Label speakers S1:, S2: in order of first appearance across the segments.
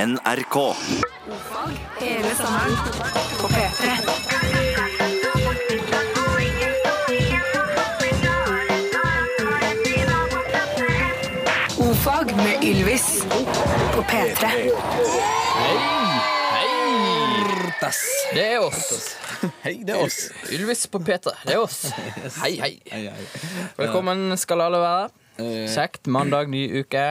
S1: NRK.
S2: Hele sommeren på P3. Ofag med Ylvis på P3.
S3: Det er oss.
S4: Hei, det er oss.
S3: Ylvis på P3. Det er oss. Hei, hei.
S4: Eh,
S3: Velkommen skal alle være. Kjekt. Mandag, ny uke.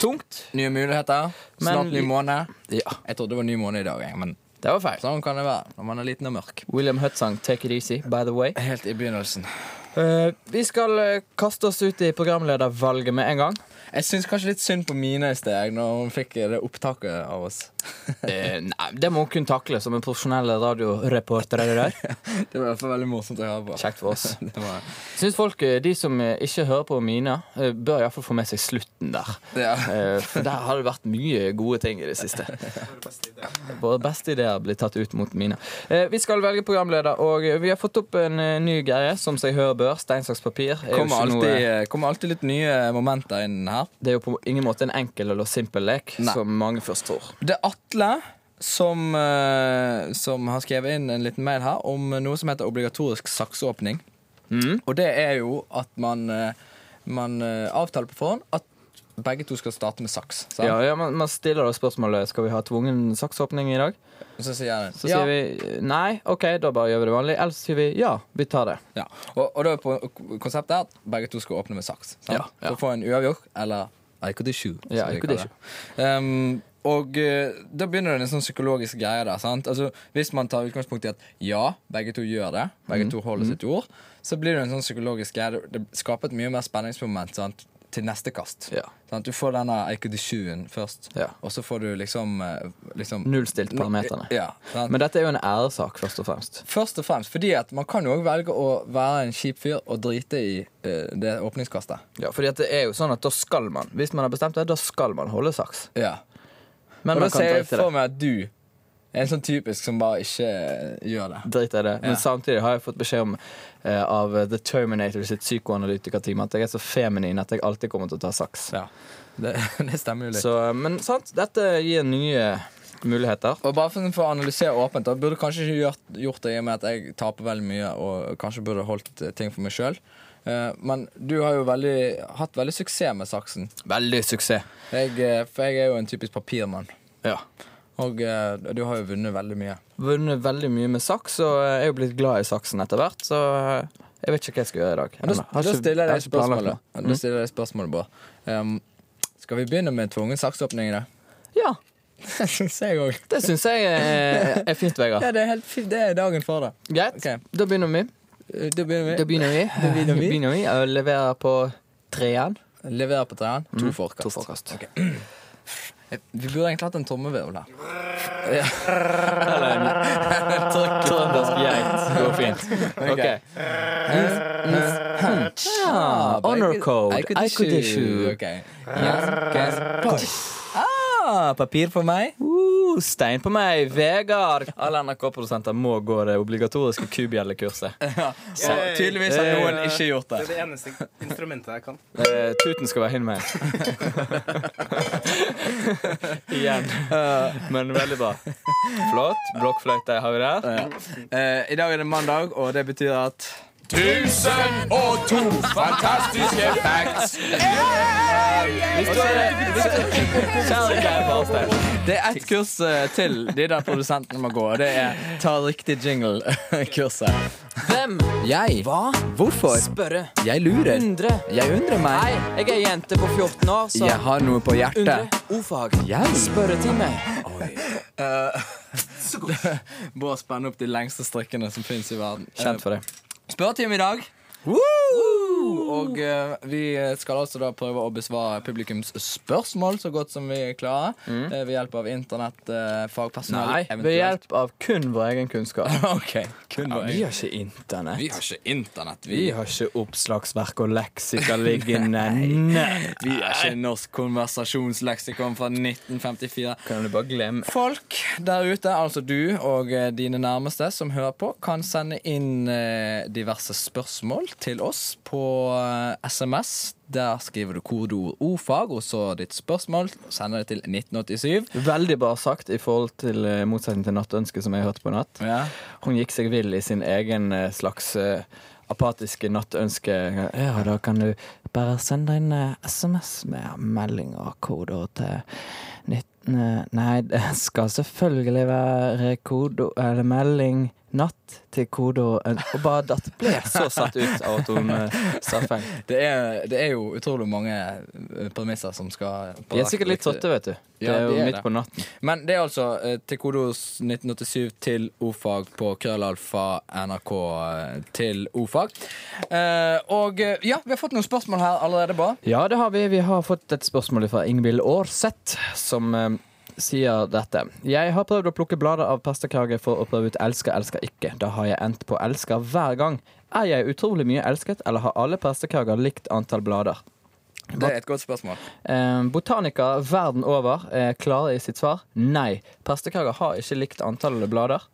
S3: Tungt.
S4: Nye muligheter. Snart
S3: Men-
S4: ny måned.
S3: Ja,
S4: Jeg trodde det var ny måned i dag, jeg, men
S3: det var feil.
S4: sånn kan det være når man er liten og mørk.
S3: William Hutt sang 'Take It Easy', by the way.
S4: Helt i begynnelsen.
S3: Eh, vi skal eh, kaste oss ut i programledervalget med en gang.
S4: Jeg syns kanskje litt synd på Mine i sted, jeg, når hun fikk det opptaket av oss.
S3: Eh, nei, det må hun kunne takle som en profesjonell radioreporter. er det der.
S4: Det var i hvert fall veldig morsomt å høre på.
S3: Kjekt for oss.
S4: Det var,
S3: Syns folk, eh, de som eh, ikke hører på Mina, eh, bør iallfall få med seg slutten der.
S4: ja.
S3: Eh, For der har det vært mye gode ting i det siste. Våre beste ideer blir tatt ut mot mine. Eh, Vi skal velge programleder, og vi har fått opp en eh, ny greie, som seg hør bør. Stein, saks, papir. Er jo
S4: Kommer
S3: ikke noe-
S4: alltid, kommer alltid litt nye momenter inn her.
S3: det er jo på ingen måte en enkel eller simpel lek,
S4: Nei.
S3: som mange først tror.
S4: Det er Atle som, eh, som har skrevet inn en liten mail her om noe som heter obligatorisk sakseåpning.
S3: Mm.
S4: Og det er jo at man, eh, man eh, avtaler på forhånd at begge to skal starte med saks. sant?
S3: Ja, ja, man, man stiller da spørsmålet Skal vi ha tvungen saksåpning i dag.
S4: Og så sier jeg
S3: Så sier vi nei, OK, da bare gjør vi det vanlig. Eller så sier vi ja, vi tar det.
S4: Ja. Og, og da er på- konseptet er at begge to skal åpne med saks. Sant?
S3: Ja, ja.
S4: For å få en uavgjort eller IKD7.
S3: Ja, IKD7.
S4: Um, og eh, da begynner det en sånn psykologisk greie der. Sant? Altså, hvis man tar utgangspunkt i at ja, begge to gjør det, begge
S3: Mhm,
S4: to holder sitt ord, så blir det en sånn psykologisk greie. Det- Det skaper et mye mer spenningsmoment sant? til neste kast.
S3: Ja.
S4: Sant? Du får denne IKD7-en først,
S3: Ja.
S4: og så får du liksom, eh, liksom
S3: Nullstilt parameterne.
S4: Ja, sant?
S3: Men dette er jo en æresak, først og fremst.
S4: Først og fremst fordi at man kan jo også velge å være en kjip fyr og drite i eh, det åpningskastet.
S3: Ja, fordi at det er jo sånn at da skal man Hvis man har bestemt det, da skal man holde saks.
S4: Ja.
S3: Men man kan
S4: Og da ser jeg
S3: drite i
S4: for
S3: det.
S4: meg at du er en sånn typisk som bare ikke eh, gjør det.
S3: Drit i det. Men
S4: Ja.
S3: samtidig har jeg fått beskjed om eh, av The Terminator sitt psykoanalytikerteam at jeg er så feminin at jeg alltid kommer til å ta saks.
S4: Ja. Det, det stemmer jo litt.
S3: Så, eh, men sant, dette gir nye muligheter.
S4: Og bare for, for å analysere åpent, da burde kanskje ikke gjort, gjort det i og med at jeg taper veldig mye og kanskje burde holdt eh, ting for meg sjøl. men du har jo veldig, hatt veldig suksess med saksen.
S3: Veldig suksess.
S4: Jeg, eh, for jeg er jo en typisk papirmann.
S3: Ja.
S4: Og eh, du har jo vunnet veldig mye.
S3: Vunnet veldig mye med saks, og eh, jeg er jo blitt glad i saksen etter hvert, så eh, jeg vet ikke hva jeg skal gjøre i dag.
S4: Men da,
S3: Ennå. Har
S4: da
S3: ikke-
S4: stiller
S3: har
S4: jeg deg
S3: ikke planlagt Mm.
S4: spørsmålet. Da stiller jeg deg spørsmålet Bård. Ehm, skal vi begynne med tvungen saksåpning i dag?
S3: noe. Ja,
S4: Det syns jeg òg.
S3: det syns jeg er, er fint, Vegard.
S4: Ja, det er, helt, fint. det er dagen for det.
S3: Greit,
S4: Ok.
S3: da begynner vi.
S4: Eh, Da begynner
S3: Da
S4: vi.
S3: begynner vi. Da
S4: begynner vi.
S3: å levere på treeren.
S4: Levere på treeren. To forkast.
S3: Mm, To forkast.
S4: Ok. Eh, Vi burde egentlig hatt en trommevirvel her.
S3: Trøndersk geit går fint. Ok. Ah, honor code. I could issue.
S4: Okay. Yes, yes. Ah, papir for meg.
S3: Uh, stein på meg, Vegard! Alle NRK-produsenter må gå det obligatoriske kubjellekurset.
S4: Så, tydeligvis har noen ikke gjort det.
S5: Det er det eneste instrumentet jeg kan.
S3: Eh, tuten skal være hin med. Igjen. Men veldig bra. Flott. Blokkfløyte har vi der.
S4: Eh, I dag er det mandag, og det betyr at
S6: 1002 fantastiske facts.
S3: Kjære Geir Barstein.
S4: Det er ett kurs eh, til de der produsentene må gå, og det er ta riktig jingle-kurset.
S3: Hvem?
S4: Jeg? Hva? Hvorfor?
S3: Spørre.
S4: Jeg lurer.
S3: Undre.
S4: Jeg undrer meg.
S3: Hei, jeg er jente på 14 år, så
S4: Jeg har noe på
S3: Undre.
S4: hjertet.
S3: Ordfag.
S4: Jeg?
S3: Spørretime.
S4: Bare spenne opp de lengste strikkene som finnes i verden.
S3: Kjent for det.
S4: Spørretime i dag. Og eh, vi skal altså da prøve å besvare publikums spørsmål så godt som vi klarer. eh, ved hjelp av internett, eh, fagpersonell
S3: Mm. Nei, ved hjelp av kun vår egen kunnskap.
S4: Ok, kun
S3: Ja,
S4: vår
S3: vi
S4: egen.
S3: har ikke internett.
S4: Vi har ikke internett.
S3: Vi har ikke oppslagsverk og leksika liggende. Nei.
S4: Vi er ikke norsk konversasjonsleksikon fra 1954.
S3: Kan du bare glemme
S4: Folk der ute, altså du og eh, dine nærmeste som hører på, kan sende inn eh, diverse spørsmål til oss på og SMS. Der skriver du kodeord ordfag og så ditt spørsmål. Sender det til 1987.
S3: Veldig bra sagt i forhold til eh, motsetning til Nattønsket, som jeg hørte på natt. Hun gikk seg vill i sin egen eh, slags eh, apatiske nattønske. Ja, da kan du bare sende inn eh, SMS med melding og kodeord til 19... Nei, det skal selvfølgelig være kode, eller melding natt til kodeord Og bare datt ble så satt ut av at hun eh, satt feng.
S4: Det er, det er jo utrolig mange eh, premisser som skal
S3: De er sikkert litt sotte, vet du. Det
S4: Ja,
S3: er
S4: de
S3: jo
S4: er
S3: midt
S4: det.
S3: på natten.
S4: Men det er altså eh, til kodeord 1987 til ordfag på krøllalfa nrk eh, til ordfag. Eh, og eh, ja, vi har fått noen spørsmål her allerede, bra.
S3: Ja, det har vi. Vi har fått et spørsmål fra Ingvild Aarseth, som eh, sier dette. Jeg har prøvd å plukke blader av pastakrage for å prøve ut elsker, elsker ikke. Da har jeg endt på elsker hver gang. Er jeg utrolig mye elsket, eller har alle pastakrager likt antall blader?
S4: Det er et godt spørsmål.
S3: Eh, botanikere verden over er klare i sitt svar. Nei. Pastakrager har ikke likt antall blader.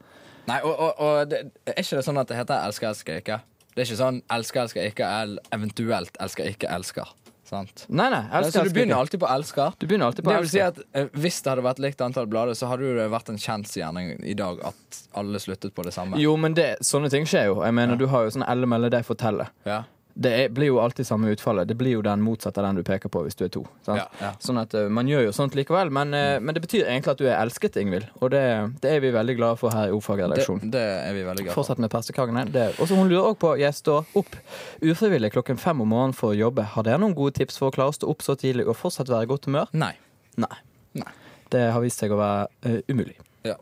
S4: Nei, og, og, og det, er ikke det sånn at det heter 'elsker, elsker ikke'? Det er ikke sånn 'elsker, elsker ikke' eller eventuelt 'elsker, ikke, elsker'. Sant?
S3: Nei, nei.
S4: så
S3: Elsker,
S4: du
S3: elsker
S4: begynner
S3: ikke.
S4: alltid på 'elsker'?
S3: Du begynner alltid på
S4: Det vil
S3: elsker.
S4: si at eh, Hvis det hadde vært likt antall blader, så hadde jo det vært en kjensgjerning i dag at alle sluttet på det samme.
S3: Jo, men det, sånne ting skjer jo. Jeg mener, Du har jo sånn Elle melde deg fortelle.
S4: Ja.
S3: Det er, blir jo alltid samme utfallet. Det blir jo den motsatte av den du peker på hvis du er to. Sant?
S4: Ja, ja. Mm.
S3: Sånn at eh, Man gjør jo sånt likevel, men, eh, men det betyr egentlig at du er elsket, Ingvild. Og det, det er vi veldig glade for her i
S4: Det,
S3: Ordfagredaksjonen.
S4: det er vi veldig glad for.
S3: Fortsett med perstekakene. Det- Og så Hun lurer òg på Jeg står opp ufrivillig klokken fem om morgenen for å jobbe. Har dere noen gode tips for å klare å stå opp så tidlig og fortsatt være i godt humør?
S4: Nei.
S3: Nei.
S4: Nei.
S3: Det har vist seg å være eh, umulig.
S4: Ja.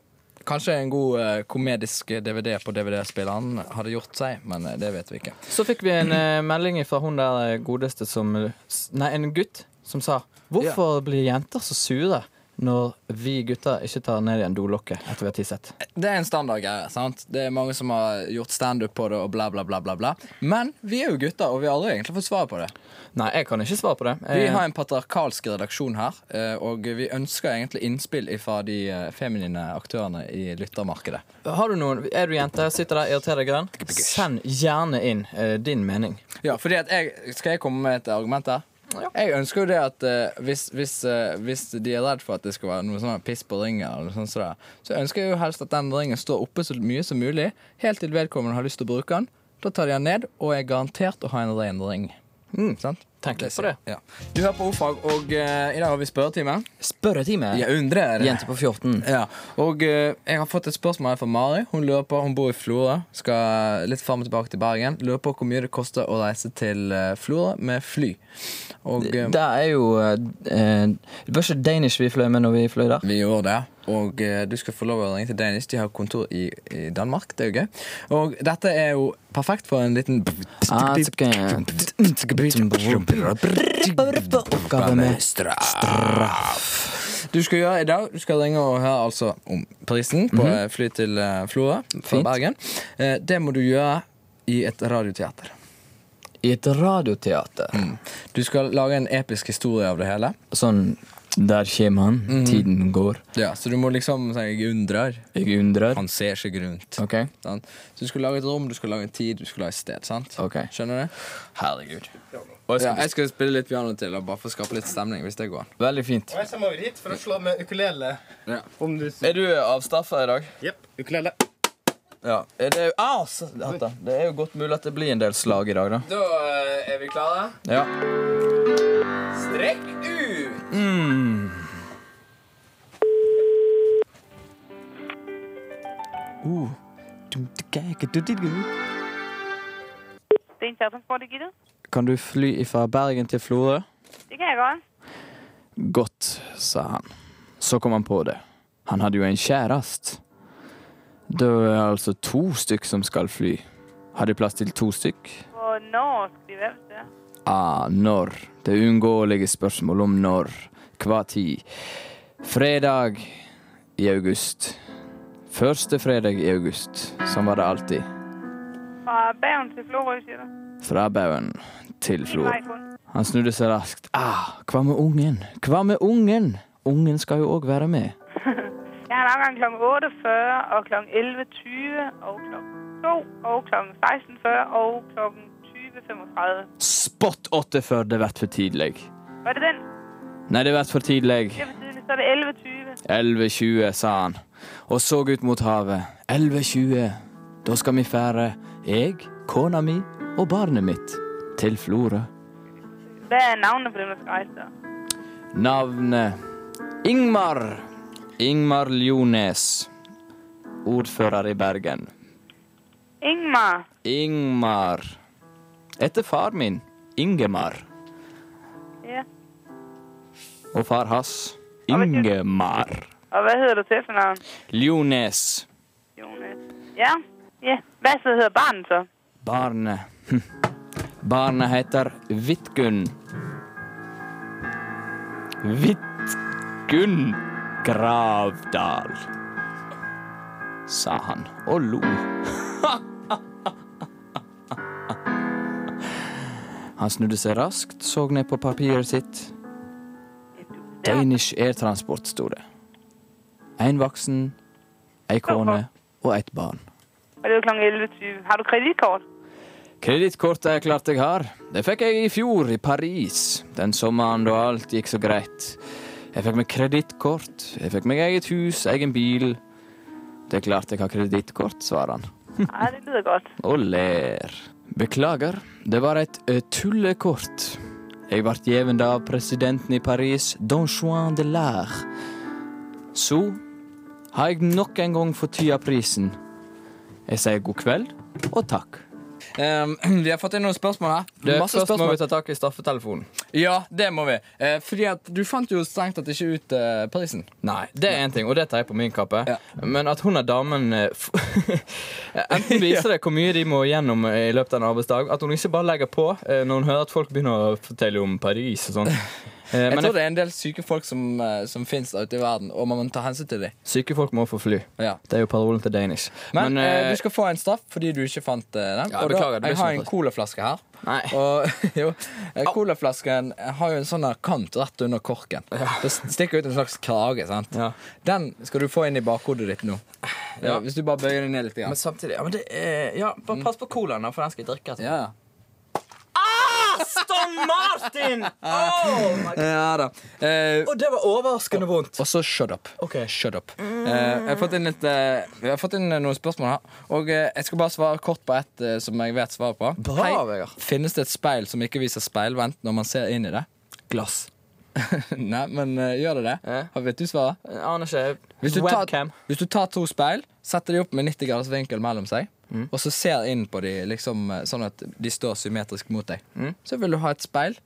S4: Kanskje en god eh, komedisk DVD på DVD-spilleren hadde gjort seg, men eh, det vet vi ikke.
S3: Så fikk vi en eh, melding fra hun der eh, godeste som eh, s- Nei, en gutt som sa Hvorfor blir jenter så sure når vi gutter ikke tar ned igjen dolokket etter vi har tisset?
S4: Det er en standardgreie. sant? Det er mange som har gjort standup på det og bla, bla, bla. bla, bla. Men vi er jo gutter, og vi har aldri egentlig fått svar på det.
S3: Nei, jeg kan ikke svare på det.
S4: Vi
S3: Eh,
S4: har en patriarkalsk redaksjon her, eh, og vi ønsker egentlig innspill fra de eh, feminine aktørene i lyttermarkedet.
S3: har du noen, er du jente, sitter der, irriterer deg grønn? Send gjerne inn eh, din mening.
S4: Ja, fordi at jeg, Skal jeg komme med et argument der? Jeg ønsker jo det at eh, hvis, hvis, eh, hvis de er redd for at det skal være noe sånn piss på ringen, eller noe sånt, som det er, så ønsker jeg jo helst at den ringen står oppe så mye som mulig, helt til vedkommende har lyst til å bruke den. Da tar de den ned, og er garantert å ha en ren ring. Sant?
S3: Tenk litt Mm, på
S4: sier- Ja. Du hører på Ordfag, og eh, i dag har vi spørretime.
S3: Spørretime.
S4: Jeg undrer.
S3: Jente på 14.
S4: Ja, og eh, jeg har fått et spørsmål her fra Mari. Hun lurer på, hun bor i Florø, skal litt fram og tilbake til Bergen. Lurer på hvor mye det koster å reise til eh, Florø med fly. Og eh,
S3: Det er jo eh, eh, Det var ikke Danish vi fløy med når vi fløy der.
S4: vi gjorde det, og eh, du skal få lov å ringe til Danish. De har kontor i, i Danmark. Det er jo gøy. Og dette er jo perfekt for en liten
S3: Ah, it's okay. Oppgave med
S4: Du skal gjøre i dag Du skal ringe og høre altså om prisen på eh, fly til eh, Florø fra
S3: Mhm. Fint.
S4: Bergen. Eh, Det må du gjøre i et radioteater.
S3: i et radioteater.
S4: Du skal lage en episk historie av det hele.
S3: Sånn Der kommer han.
S4: Mhm.
S3: Tiden går.
S4: Ja, Så du må liksom si 'jeg undrer'.
S3: Jeg undrer.
S4: Han ser seg rundt.
S3: OK?
S4: Sant? Så du skal lage et rom, du skal lage en tid, du skal lage et sted. sant?
S3: Ok.
S4: Skjønner du?
S3: Herregud.
S4: ja, jeg skal spille litt piano til, og bare for å skape litt stemning. hvis det går an.
S3: Veldig fint.
S5: Og jeg kommer over hit for å slå med ukulele.
S4: Ja.
S5: Om du
S3: Er du avstraffa i dag?
S5: Jepp, ukulele.
S3: Ja. Er det, au, så- dette. det er jo godt mulig at det blir en del slag i dag, da.
S4: Da eh, er vi klare.
S3: Ja.
S4: Strekk ut!
S1: Det er interntransport, Gitte.
S3: Kan du fly fra Bergen til Florø?
S1: Det kan jeg godt.
S3: Godt, sa han. Så kom han på det. Han hadde jo en kjærest. Det er altså to stykk som skal fly. Har de plass til to stykk?
S1: Hvornår skal de være på stedet?
S3: Ah, når. Det uunngåelige spørsmål om når. Hva tid? Fredag i august. Første fredag i august. Sånn var det alltid.
S1: Fra Bergen til Florø, siger du?
S3: Fra baugen til
S1: En
S3: Flor.
S1: vej kun.
S3: Han snudde seg raskt. Ah, hva med ungen? Hva med ungen? Ungen skal jo òg være med.
S1: Jeg har en afgang kl. 48 og kl. 11.20 og kl. 2 og kl. 16.40 og kl. 20 2035.
S3: Spot 48 det vært for tidlig.
S1: Var det den?
S3: Nei, det vært for tidlig.
S1: Det betyr så er det 1120.
S3: 11.20, sa han, og så ut mot havet. 11.20, da skal vi fære, jeg, kona mi og barnet mitt, til Florø.
S1: Det er navnet på den vi skal reise.
S3: Navnet Ingmar. Ingmar Ljones, ordfører i Bergen.
S1: Ingmar.
S3: Ingmar. Etter far min, Ingemar,
S1: Ja.
S3: og far hans, Ingemar
S1: Og hvad hedder du til for navn?
S3: Ljones.
S1: Jonas. Ja. Ja. Hvad så hedder barnet så?
S3: Barnet hm. Barnet heter Vidkun. Vidkun Gravdal, sa han og lo. Han snudde seg raskt, så ned på papiret sitt. Danish Airtransport, sto det. En voksen, ei kone og et barn.
S1: Og det er jo kl. 11.20. Har du kreditkort?
S3: Kredittkortet er klart jeg har. Det fikk jeg i fjor, i Paris. Den sommeren da alt gikk så greit. Jeg fikk meg kredittkort, jeg fikk meg eget hus, egen bil. Det er klart jeg har kredittkort, svarer han,
S1: Ja, det lyder godt.
S3: og ler. Beklager, det var et ø, tullekort. Jeg ble gjeven av presidenten i Paris, Don Juan de Laire. Så har jeg nok en gang fått tya prisen. Jeg sier god kveld og takk.
S4: Eh, vi har fått inn noen spørsmål her.
S3: Det er Masse spørsmål vi tar tak i straffetelefonen.
S4: Ja, det må vi. Eh, fordi at du fant jo strengt tatt ikke ut eh, prisen.
S3: Nei, det er én ting, og det tar jeg på min kappe.
S4: Ja.
S3: Men at hun er damen eh, f- Enten viser det hvor mye de må gjennom eh, i løpet av en arbeidsdag, at hun ikke bare legger på eh, når hun hører at folk begynner å fortelle om Paris og sånn. Eh,
S4: Jeg
S3: Men
S4: tror det er en del syke folk som, eh, som fins ute i verden, og man må ta hensyn til dem.
S3: syke folk må få fly.
S4: Ja.
S3: Det er jo parolen til Danish.
S4: Men, eh,
S3: eh,
S4: du skal få en straff fordi du ikke fant eh, den.
S3: Ja,
S4: og
S3: beklager, det
S4: da,
S3: blir
S4: jeg
S3: ikke
S4: har
S3: noe
S4: en
S3: press.
S4: colaflaske her.
S3: Nei.
S4: Og jo, eh, colaflasken har jo en sånn her kant rett under korken. Det stikker ut en slags krage. sant?
S3: Ja.
S4: Den skal du få inn i bakhodet ditt nå.
S3: Ja.
S4: Eh, Hvis du bare bøyer deg ned litt.
S3: Men
S4: Grann.
S3: samtidig ja, men det er, ja, Bare pass på colaen, da, for den skal jeg drikke. etterpå.
S4: Ja.
S3: Aston Martin! Oh, my God.
S4: ja da. Eh,
S3: Å, det var overraskende vondt.
S4: Og så shut up.
S3: Ok.
S4: Shut up. Eh, jeg, har fått inn litt, eh, jeg har fått inn noen spørsmål her. Og eh, jeg skal bare svare kort på ett eh, som jeg vet svaret på.
S3: Bra, Vegard.
S4: Finnes det et speil som ikke viser speilvendt når man ser inn i det?
S3: Glass.
S4: Nei, men eh, gjør det det?
S3: Ja.
S4: Har- Vet du svaret?
S3: Jeg Eh, aner ikke.
S4: Hvis du, tar,
S3: Webcam.
S4: hvis du tar to speil, setter de opp med 90 graders vinkel mellom seg,
S3: Mm.
S4: og så ser inn på de liksom, eh, sånn at de står symmetrisk mot deg,
S3: Mm.
S4: så vil du ha et speil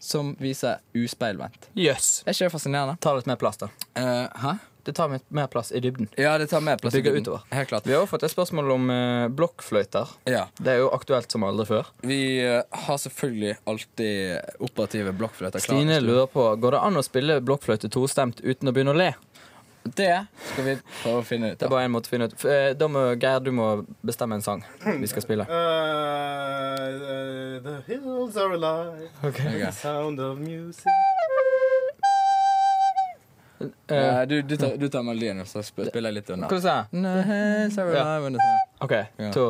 S4: som viser uspeilvendt.
S3: Jøss.
S4: Er ikke det fascinerende?
S3: Ta litt mer plass, da.
S4: Eh, hæ?
S3: Det tar litt mer plass i dybden.
S4: Ja, det tar mer plass. i
S3: Bygger
S4: tiden.
S3: utover.
S4: Helt klart.
S3: Vi har også fått et spørsmål om eh, blokkfløyter.
S4: Ja.
S3: Det er jo aktuelt som aldri før.
S4: Vi eh, har selvfølgelig alltid operative blokkfløyter klare.
S3: Stine lurer på går det an å spille blokkfløyte tostemt uten å begynne å le.
S4: Det skal vi prøve å finne ut
S3: Det er
S4: av.
S3: bare en måte å finne ut. F- eh, Da må Geir, du må bestemme en sang vi skal spille.
S5: Uh, Eh, the hills are alive. The sound of music.
S4: Eh, du, du, tar, du tar melodien, og så sp- spiller jeg litt
S3: Hva
S4: under.
S3: du sa
S4: Nei, sorry,
S3: Ja.
S4: nei, men det-
S3: OK,
S4: Ja.
S3: to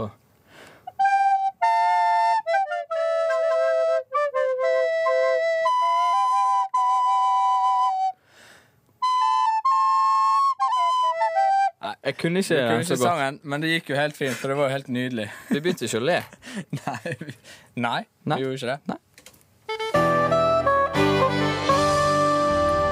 S3: Nei, Jeg kunne ikke
S4: Jeg kunne
S3: den så
S4: ikke
S3: godt.
S4: sangen, men det gikk jo helt fint, for det var jo helt nydelig.
S3: Vi begynte ikke å le.
S4: Nei, vi, nei,
S3: Nei.
S4: vi gjorde ikke det.
S3: Nei.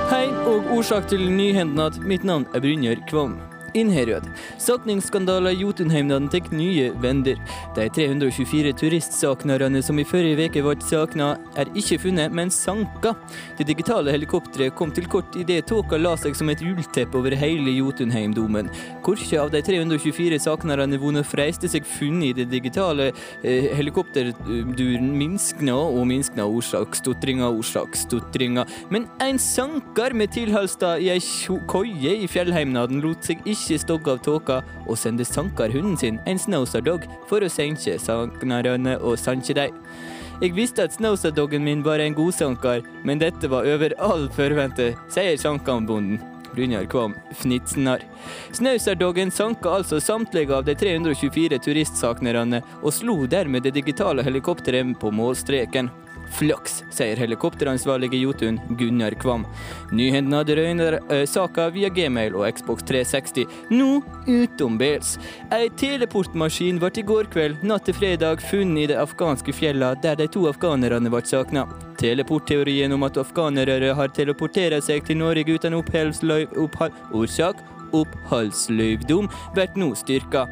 S3: Hei og årsak til nyhendnad. Mitt navn er Brynjar Kvam. Innherred. Sakningsskandaler i Jotunheimdalen tar nye vender. De 324 turistsaknerne som i forrige uke ble sakna, er ikke funnet, men sanka. Det digitale helikopteret kom til kort idet tåka la seg som et ullteppe over hele Jotunheimdomen. Hvilke av de 324 saknerne vunnet freiste seg funnet i det digitale eh, helikopterduren minskna og minskna orsak, stotringa, orsak, stotringa. Men en sankar med tilhalstad i ei tjo- koie i fjellheimnaden lot seg ikke stogge av tåka, og sendte sankarhunden sin, en snowsardog, for å senke saknarane og sanke dei. Jeg visste at snowsardoggen min var en god sankar, men dette var over all forvente, sier sankambonden.
S7: Brynjar Kvam Fnitsenar. Snauserdoggen sanka altså samtlige av de 324 turistsaknerne, og slo dermed det digitale helikopteret på målstreken. Flaks, sier helikopteransvarlig i Jotun, Gunnar Kvam. Nyheten hadde røyner eh, saka via Gmail og Xbox 360, nå utenbils. Ei teleportmaskin ble i går kveld, natt til fredag, funnet i de afghanske fjella der de to afghanerne ble savna. Teleportteorien om at afghanere har teleportert seg til Norge uten oppholdsløyv... Opphold, orsak? Oppholdsløyvdom blir nå styrka.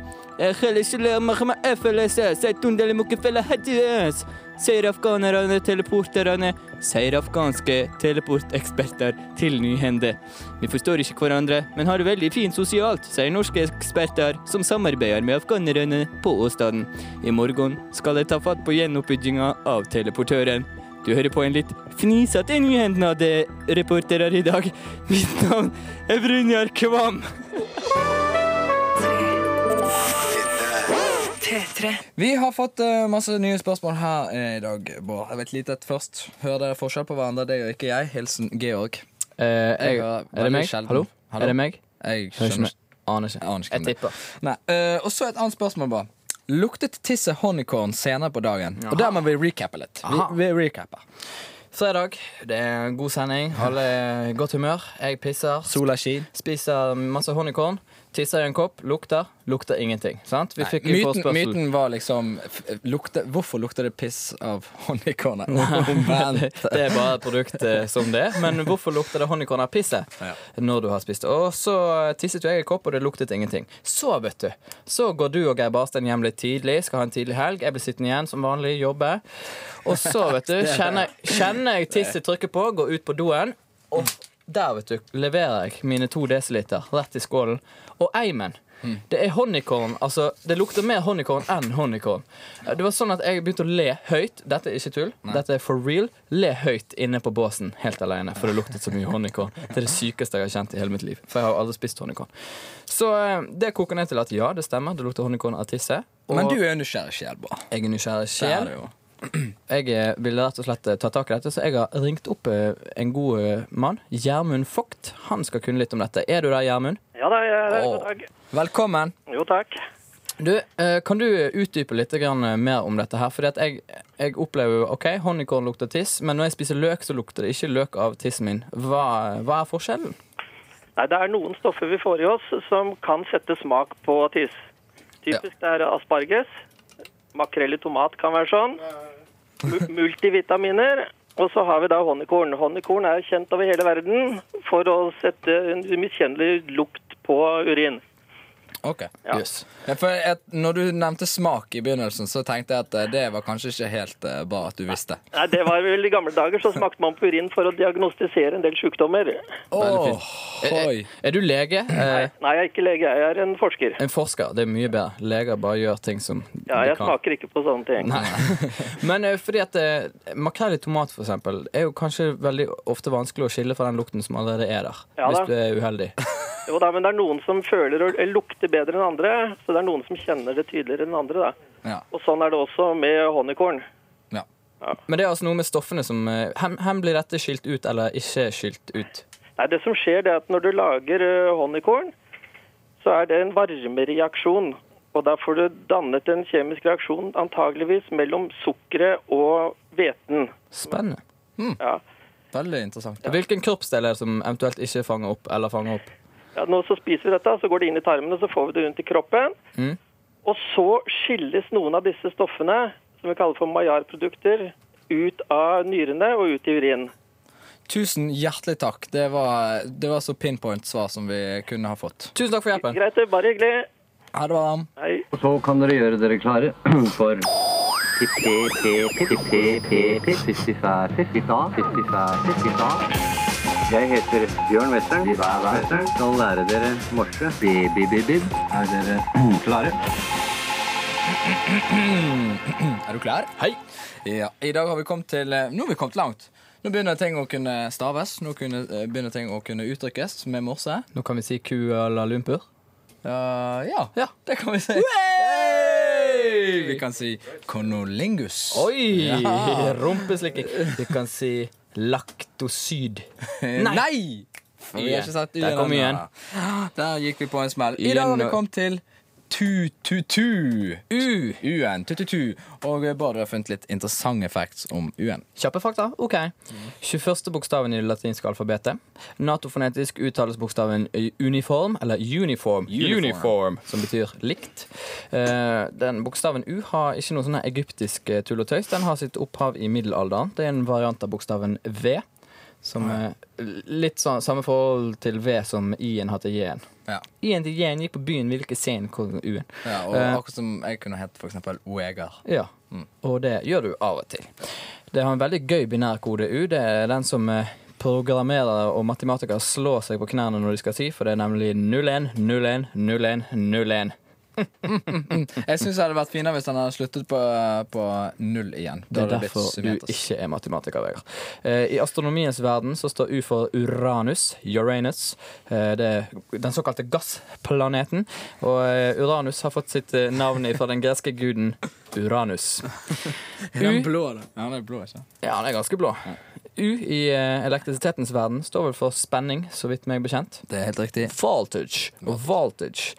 S7: Sier afghanerne, teleporterne, sier afghanske teleporteksperter til Nyhende. Vi forstår ikke hverandre, men har det veldig fint sosialt, sier norske eksperter som samarbeider med afghanerne på åstedet. I morgen skal de ta fatt på gjenoppbygginga av teleportøren. Du hører på en litt fnisete nyhendenade-reporterer i dag. Mitt navn er Brynjar Kvam.
S2: P3.
S4: Vi har fått eh, masse nye spørsmål her eh, i dag, Bård. Jeg vet lite at først. Hører dere forskjell på hverandre? Det gjør ikke jeg. Hilsen Georg.
S3: Eh, jeg, er
S4: var
S3: det meg?
S4: veldig sjelden.
S3: Hallo?
S4: Hallo?
S3: Er det meg?
S4: Jeg
S3: Hører ikke
S4: skjønner
S3: meg. Aner ikke.
S4: Jeg aner ikke
S3: Jeg
S4: hvem det er.
S3: tipper.
S4: Nei, eh, og så et annet spørsmål bare. Luktet tisset honeycorn senere på dagen? Og der må vi recappe litt. Vi,
S3: Aha.
S4: vi recapper.
S3: Fredag. Det er en god sending. Alle er i godt humør. Jeg pisser.
S4: Sola skin.
S3: Spiser masse honeycorn. Tisser i en kopp. Lukter. Lukter ingenting. Sant? Vi fikk jo
S4: Myten,
S3: forespørsel.
S4: myten var liksom f- lukte, Hvorfor lukter det piss av honeycornet? Omvendt.
S3: Det er bare et produkt eh, som det. er. Men hvorfor lukter det honeycorn av pisset
S4: Ja.
S3: når du har spist det? Og så eh, tisset jo jeg i kopp, og det luktet ingenting. Så, vet du, så går du og Geir Barstein hjem litt tidlig, skal ha en tidlig helg. Jeg blir sittende igjen som vanlig, jobbe. Og så, vet du, kjenner, kjenner jeg tisset trykker på, går ut på doen, og der, vet du, leverer jeg mine to desiliter rett i skålen. Og eimen. Det er honeycorn, altså Det lukter mer honeycorn enn honeycorn. Det var sånn at Jeg begynte å le høyt. Dette er ikke tull. Dette er for real. Le høyt inne på båsen helt alene, for det luktet så mye honeycorn. Det er det sykeste jeg har kjent i hele mitt liv. For jeg har jo aldri spist honeycorn. Så eh, det koker ned til at ja, det stemmer. Det lukter honeycorn av tisse. Og
S4: Men du er jo nysgjerrig sjel, Bård.
S3: jeg er nysgjerrig
S4: Det er
S3: sjel.
S4: du jo.
S3: Jeg eh, ville rett og slett eh, ta tak i dette, så jeg har ringt opp eh, en god eh, mann. Gjermund Vogt. Han skal kunne litt om dette. Er du der, Gjermund?
S8: Ja da, jeg er her. God
S3: Åh.
S8: dag.
S4: Velkommen.
S8: Jo takk.
S3: Du, eh, kan du utdype litt grann eh, mer om dette her? Fordi at jeg, jeg opplever jo, ok, honeycorn lukter tiss, men når jeg spiser løk, så lukter det ikke løk av tissen min. Hva, hva er forskjellen?
S8: Nei, det er noen stoffer vi får i oss som kan sette smak på tiss. Typisk det er asparges. Makrell i tomat kan være sånn. mu- Multivitaminer. Og så har vi da honeycorn. Honeycorn er jo kjent over hele verden for å sette en umiskjennelig lukt på urin.
S4: Ok.
S8: Ja.
S3: Jøss.
S4: Ja, for at når du nevnte smak i begynnelsen, så tenkte jeg at eh, det var kanskje ikke helt eh, bra at du visste.
S8: Nei, det var vel i gamle dager så smakte man på urin for å diagnostisere en del sykdommer.
S3: Veldig eh,
S4: Oi.
S3: Er du lege? Eh,
S8: Nei, jeg er ikke lege, jeg er en forsker.
S3: en forsker. Det er mye bedre. Leger bare gjør ting som
S8: Ja,
S3: de
S8: jeg
S3: kan.
S8: smaker ikke på sånne ting.
S3: Men eh, fordi at eh, makrell i tomat for eksempel, er jo kanskje veldig ofte vanskelig å skille fra den lukten som allerede er der.
S8: Ja da.
S3: hvis du er uheldig.
S8: Jo da, men det er noen som føler og lukter bedre enn andre, så det er noen som kjenner det tydeligere enn andre, da.
S4: Ja.
S8: Og sånn er det også med honeycorn.
S4: Ja.
S3: Men det er altså noe med stoffene som eh, Hvem hvem blir dette skilt ut, eller ikke skilt ut?
S8: Nei, det som skjer det er at når du lager eh, honeycorn, så er det en varmereaksjon. Og da får du dannet en kjemisk reaksjon antageligvis mellom sukkeret og hveten.
S3: Spennende.
S8: Ja.
S4: Veldig interessant.
S3: Hvilken kroppsdel er det som eventuelt ikke fanger opp, eller fanger opp?
S8: Ja, nå så spiser vi dette, så går det inn i tarmene, så får vi det rundt i kroppen. Og så skilles noen av disse stoffene, som vi kaller for maillard-produkter, ut av nyrene og ut i urin.
S4: Tusen hjertelig takk. Det var, det var så pinpoint svar som vi kunne ha fått.
S3: Tusen takk for hjelpen.
S8: Greit, det er bare hyggelig.
S4: Ha det bra.
S8: Hei.
S9: Så kan dere gjøre dere klare for Jeg heter Bjørn Western. Western. Skal lære dere morse. Bi-bi-bi-bib. Er dere klare?
S4: Er du klar?
S3: Hei.
S4: Ja. I dag har vi kommet til eh, Nå har vi kommet langt. Nå begynner ting å kunne staves. Nå kunne, eh, begynner ting å kunne uttrykkes med morse.
S3: Nå kan vi si Kuala Lumpur.
S4: Ja, ja, det kan vi si. Vi kan si konolingus.
S3: Oi! Rumpeslikking. Vi kan si laktosyd.
S4: Nei! for vi har ikke sett
S7: Der kom
S4: ennå.
S7: igjen.
S4: Der gikk vi på en smell. I
S7: Igjen
S4: dag har vi
S7: nå.
S4: kommet til tu-tu-tu. U-en. Tu-tu-tu. Og Bård har funnet litt interessante facts om U-en.
S3: Kjappe fakta? Ok.
S4: Mm.
S3: 21. bokstaven i det latinske alfabetet. Natofonetisk uttales bokstaven uniform, eller uniform,
S4: Uniform.
S3: som betyr likt. Eh, Den bokstaven U har ikke noe sånn her egyptisk eh, tull og tøys. Den har sitt opphav i middelalderen. Det er en variant av bokstaven V, som er litt sånn samme forhold til V som I-en har til J-en.
S4: Ja.
S3: I-en til J-en gikk på byen, hvilken scene kom U-en?
S4: Ja, og
S3: Eh,
S4: akkurat som jeg kunne hett for eksempel Oegar.
S3: ja,
S4: Mm.
S3: og det gjør du av og til. Det har en veldig gøy binærkode U. Det er den som eh, programmerere og matematikere slår seg på knærne når de skal si, for det er nemlig 01, 01, 01, 01.
S4: Jeg syns det hadde vært finere hvis han hadde sluttet på, på null igjen.
S3: Det er
S4: Da hadde det
S3: derfor
S4: blitt
S3: du
S4: symmetrisk.
S3: ikke er matematiker, Vegard. Eh, I astronomiens verden så står U for Uranus, Uranus. Eh, det er den såkalte gassplaneten. Og eh, Uranus har fått sitt eh, navn fra den greske guden Uranus.
S4: Den blå, da. Ja, han er blå, ikke sant?
S3: Ja, den er ganske blå. U i eh, elektrisitetens verden står vel for spenning, så vidt meg bekjent.
S4: Det er helt riktig.
S3: Voltage og voltage.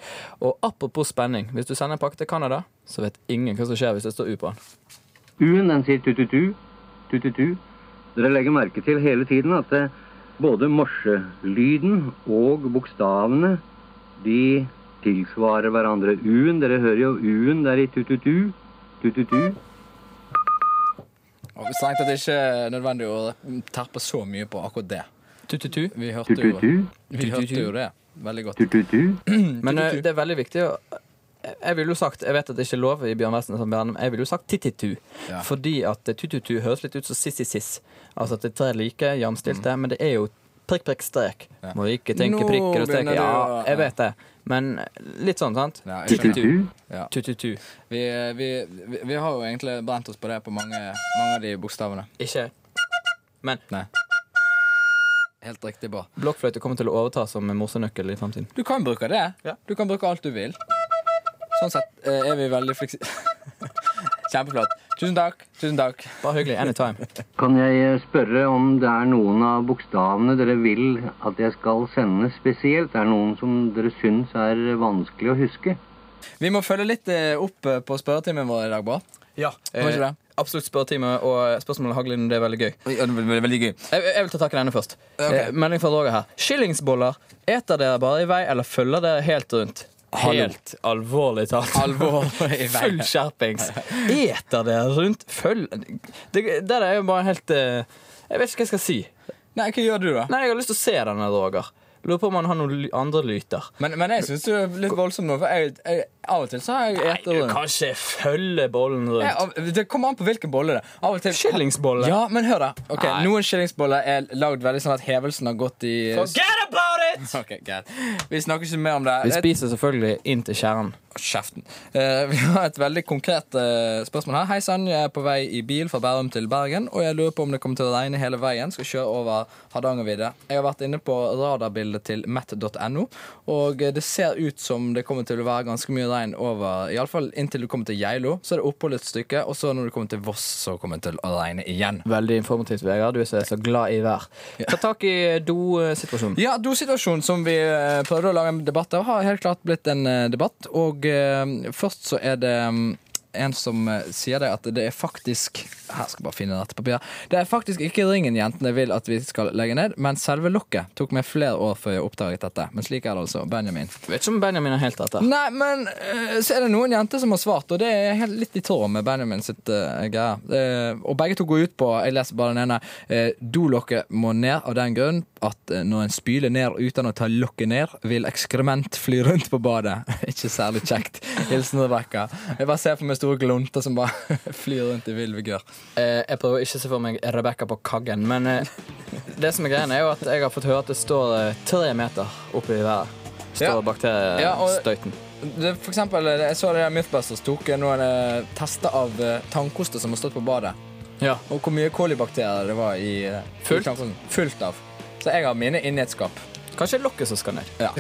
S3: Og apropos spenning, hvis du sender en pakke til Canada, så vet ingen hva som skjer hvis det står U på den.
S9: U-en, den sier tututu, tututu. Dere legger merke til hele tiden at eh, både morselyden og bokstavene, de tilsvarer hverandre. U-en, dere hører jo U-en der i tututu, tututu.
S4: Og Strengt tatt ikke nødvendig å terpe så mye på akkurat det.
S3: Tututu.
S4: Vi hørte jo,
S9: Tututu,
S4: vi hørte jo det veldig godt.
S9: tututu.
S3: Men eh, det er veldig viktig å jeg ville jo sagt, jeg vet at det ikke er lov i Bjørn Westen som Bjørn, men jeg ville jo sagt tittitu.
S4: Ja.
S3: Fordi at eh, tututu høres litt ut som sissississ. Altså at det er tre like, jamstilte, men det er jo prikk, prikk, strek. Må ikke tenke
S4: Mm. Nå
S3: prikker og
S4: begynner
S3: streker.
S4: du
S3: Ja,
S4: å-
S3: jeg vet det. Men litt sånn, sant?
S4: Ja, jeg skjønner.
S9: Tututu.
S4: Ja.
S3: Tututu.
S4: Vi, vi, vi, vi har jo egentlig brent oss på det på mange, mange av de bokstavene.
S3: Ikke Men
S4: Nei. Helt riktig bra.
S3: blokkfløyte kommer til å overta som morsenøkkel i fremtiden.
S4: Du kan bruke det.
S3: Ja.
S4: Du kan bruke alt du vil. Sånn sett eh, er vi veldig fleksi... Kjempeflott. Tusen takk. Tusen takk.
S3: Bare hyggelig. Anytime.
S9: Kan jeg eh, spørre om det er noen av bokstavene dere vil at jeg skal sende spesielt? Er det noen som dere syns er vanskelig å huske?
S4: Vi må følge litt eh, opp eh, på spørretimen vår i dag, Bård.
S3: Ja,
S4: Må ikke det?
S3: Eh, Absolutt spørretime, og spørsmålet hagler inn. Det er veldig gøy.
S4: Veldig gøy.
S3: Jeg, jeg vil ta tak i denne først.
S4: Ok.
S3: Eh, melding fra Roger her. Skillingsboller. Eter dere bare i vei, eller følger dere helt rundt? Helt alvorlig talt.
S4: Alvorlig i vei.
S3: Full skjerpings. Eter dere rundt? Følg Det det der er jo bare helt eh, Jeg vet ikke hva jeg skal si.
S4: Nei, hva gjør du, da?
S3: Nei, jeg har lyst til å se denne, Roger. Lurer på om han har noen ly- andre lyter.
S4: Men, men jeg syns du er litt voldsom nå, for jeg, jeg, av og til så har jeg
S3: Nei,
S4: etter
S3: du kan ikke følge bollen rundt.
S4: Jeg- av- Det kommer an på hvilken bolle det er. Av og til
S3: Skillingsbolle.
S4: Ja, men hør, da. Ok,
S3: Nei.
S4: Noen skillingsboller er lagd veldig sånn at hevelsen har gått i
S3: Forget about it!
S4: Ok, greit. Vi snakker ikke mer om det.
S3: Vi
S4: Jeg-
S3: spiser selvfølgelig inn til kjernen.
S4: Kjeften. Eh, vi har et veldig konkret eh, spørsmål her. Hei sann, jeg er på vei i bil fra Bærum til Bergen, og jeg lurer på om det kommer til å regne hele veien. Skal kjøre over Hardangervidda. Jeg har vært inne på radarbildet til met.no, og eh, det ser ut som det kommer til å være ganske mye regn over Iallfall inntil du kommer til Geilo. Så er det opphold et stykke, og så når du kommer til Voss, så kommer det til å regne igjen.
S3: Veldig informativt, Vegard. Du er så- så glad i vær. Ta tak i eh, do-situasjonen.
S4: Ja, dosituasjonen som vi eh, prøvde å lage en debatt av, har helt klart blitt en eh, debatt. Og eh, først så er det mm, en som eh, sier det at det er faktisk Her skal jeg bare finne dette papiret. Det er faktisk ikke ringen jentene vil at vi skal legge ned, men selve lokket. Tok meg flere år før jeg oppdaget dette. Men slik er det altså. Benjamin.
S3: Vet ikke om Benjamin har helt rett der.
S4: Nei, men eh, så er det noen jenter som har svart, og det er helt litt i tråd med Benjamin sitt eh, greie. Eh, og begge to går ut på Jeg leser bare den ene. eh, Dolokket må ned av den grunn at eh, når en spyler ned uten å ta lokket ned, vil ekskrement fly rundt på badet. Ikke særlig kjekt. Hilsen Rebekka. Jeg bare ser for meg store glunter som bare flyr rundt i vill vigør.
S3: Eh, jeg prøver å ikke å se for meg Rebekka på kaggen, men eh, det som er greien, er jo at jeg har fått høre at det står eh, tre meter oppe i været.
S4: Ja.
S3: Står
S4: Ja, og-
S3: bakteriestøyten.
S4: Det, for eksempel, eh, jeg så det der Mythbusters tok eh, noen eh, tester av eh, tannkoster som har stått på badet.
S3: Ja.
S4: Og hvor mye kolibakterier det var i eh,
S3: Fullt?
S4: i tannkosten. Fullt av. Så jeg har mine inni et skap.
S3: Kanskje det er lokket som skal ned.
S4: Ja.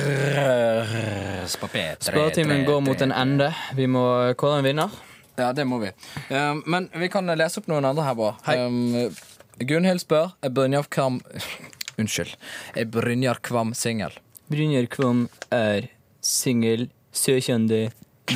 S3: Spørretimen går mot en ende. Vi må kåre en vinner.
S4: Ja, det må vi. Um, men vi kan lese opp noen andre her, Bård.
S3: Hei.
S4: Um, Gunhild spør Brynjav Kram Unnskyld. Er Brynjar Kvam singel?
S7: Brynjar Kvam er singel, søkende,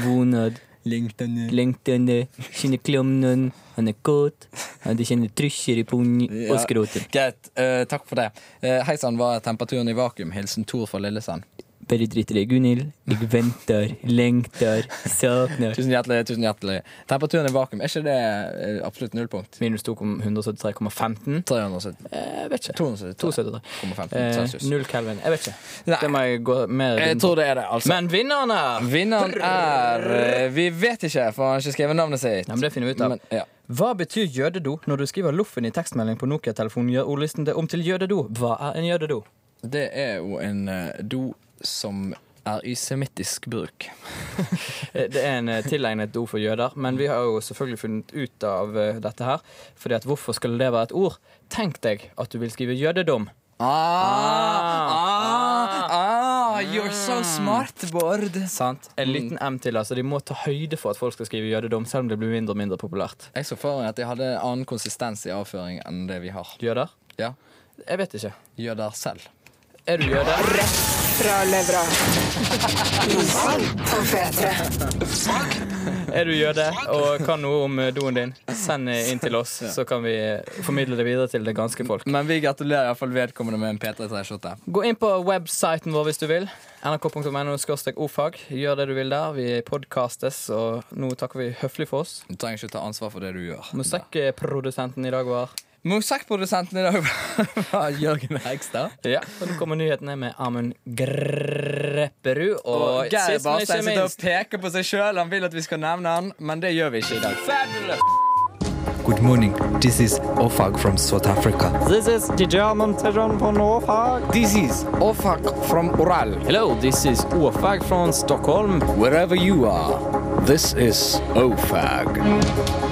S7: vonad, lengtende, kjenner klovnen, han er kåt, han kjenner trusjer i pungen og
S4: Ja.
S7: skroten.
S4: Greit. eh, takk for det. Uh, Hei sann, var temperaturen i vakuum? Hilsen Tor fra Lillesand.
S7: Bare drit i det, Gunhild. Jeg venter, lengter, savner.
S4: Tusen hjertelig. tusen hjertelig Temperaturen i vakuum, er ikke det eh, absolutt nullpunkt?
S3: Minus 273,15.
S4: 370
S3: Eh, Jeg vet ikke.
S4: 273,15
S3: Eh,
S4: celsius.
S3: null Kelvin. Jeg vet ikke.
S4: Nei.
S3: Det må jeg gå mer
S4: Jeg
S3: inn på.
S4: tror det er det, altså.
S3: Men vinneren er
S4: Vinneren er eh, Vi vet ikke, for han har ikke skrevet navnet sitt.
S3: Nei, men Det finner vi ut av.
S4: Men, ja.
S3: Hva betyr jødedo? Når du skriver loffen i tekstmelding på Nokia-telefonen, gjør ordlisten det om til jødedo. Hva er en jødedo?
S4: Det er jo en eh, do som er i semittisk bruk.
S3: Eh, Det er en eh, tilegnet ord for jøder, men vi har jo selvfølgelig funnet ut av eh, dette her. Fordi at hvorfor skal det være et ord? Tenk deg at du vil skrive jødedom.
S4: Ah, ah, ah, you're so smart, Bård.
S3: Sant? En
S4: Mm.
S3: liten M til, altså. De må ta høyde for at folk skal skrive jødedom, selv om det blir mindre og mindre populært.
S4: Jeg så for meg at de hadde en annen konsistens i avføring enn det vi har.
S3: Jøder?
S4: Ja,
S3: Jeg vet ikke.
S4: Gjør der selv.
S3: Er du jøde?
S2: Fra levra. Ordvalg på P3.
S3: Er du jøde og kan noe om eh, doen din, send eh, inn til oss, så kan vi eh, formidle det videre til det ganske folk.
S4: Men vi gratulerer iallfall vedkommende med en P3-T-skjorte.
S3: Gå inn på websiten vår hvis du vil. nrk.no ofag. Gjør det du vil der. Vi podkastes, og nå takker vi høflig for oss.
S4: Du trenger ikke ta ansvar for det du gjør.
S3: Musikkprodusenten i dag var
S4: Musikkprodusenten i dag var Jørgen Hegstad.
S3: Ja, og nå kommer nyhetene med Amund Grepperud. Og,
S4: Og Geir
S3: sist, men
S4: Barstein
S3: ikke
S4: sitter og
S3: minst
S4: peker på seg sjøl. Han vil at vi skal nevne han, men det gjør vi ikke i dag. Good morning. This is Ofag from South Africa.
S10: This is the German session for Norfolk.
S6: This is Ofak from Oral.
S10: Hello, this is Ofag from Stockholm.
S6: Wherever you are, this is Ofag.